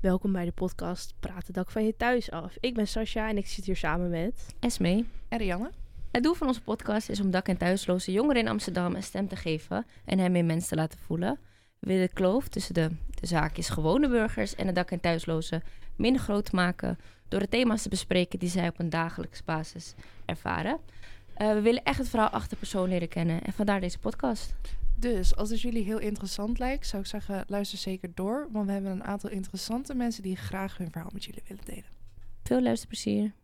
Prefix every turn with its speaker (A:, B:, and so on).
A: Welkom bij de podcast Praat het dak van je thuis af. Ik ben Sascha en ik zit hier samen met...
B: Esmee.
C: En Rianne?
B: Het doel van onze podcast is om dak- en thuisloze jongeren in Amsterdam een stem te geven en hen meer mensen te laten voelen. We willen de kloof tussen de, de zaakjes gewone burgers en de dak- en thuislozen minder groot maken door de thema's te bespreken die zij op een dagelijks basis ervaren. Eh, we willen echt het verhaal achter de persoon leren kennen en vandaar deze podcast.
C: Dus, als het jullie heel interessant lijkt, zou ik zeggen, luister zeker door. Want we hebben een aantal interessante mensen die graag hun verhaal met jullie willen delen.
B: Veel luisterplezier.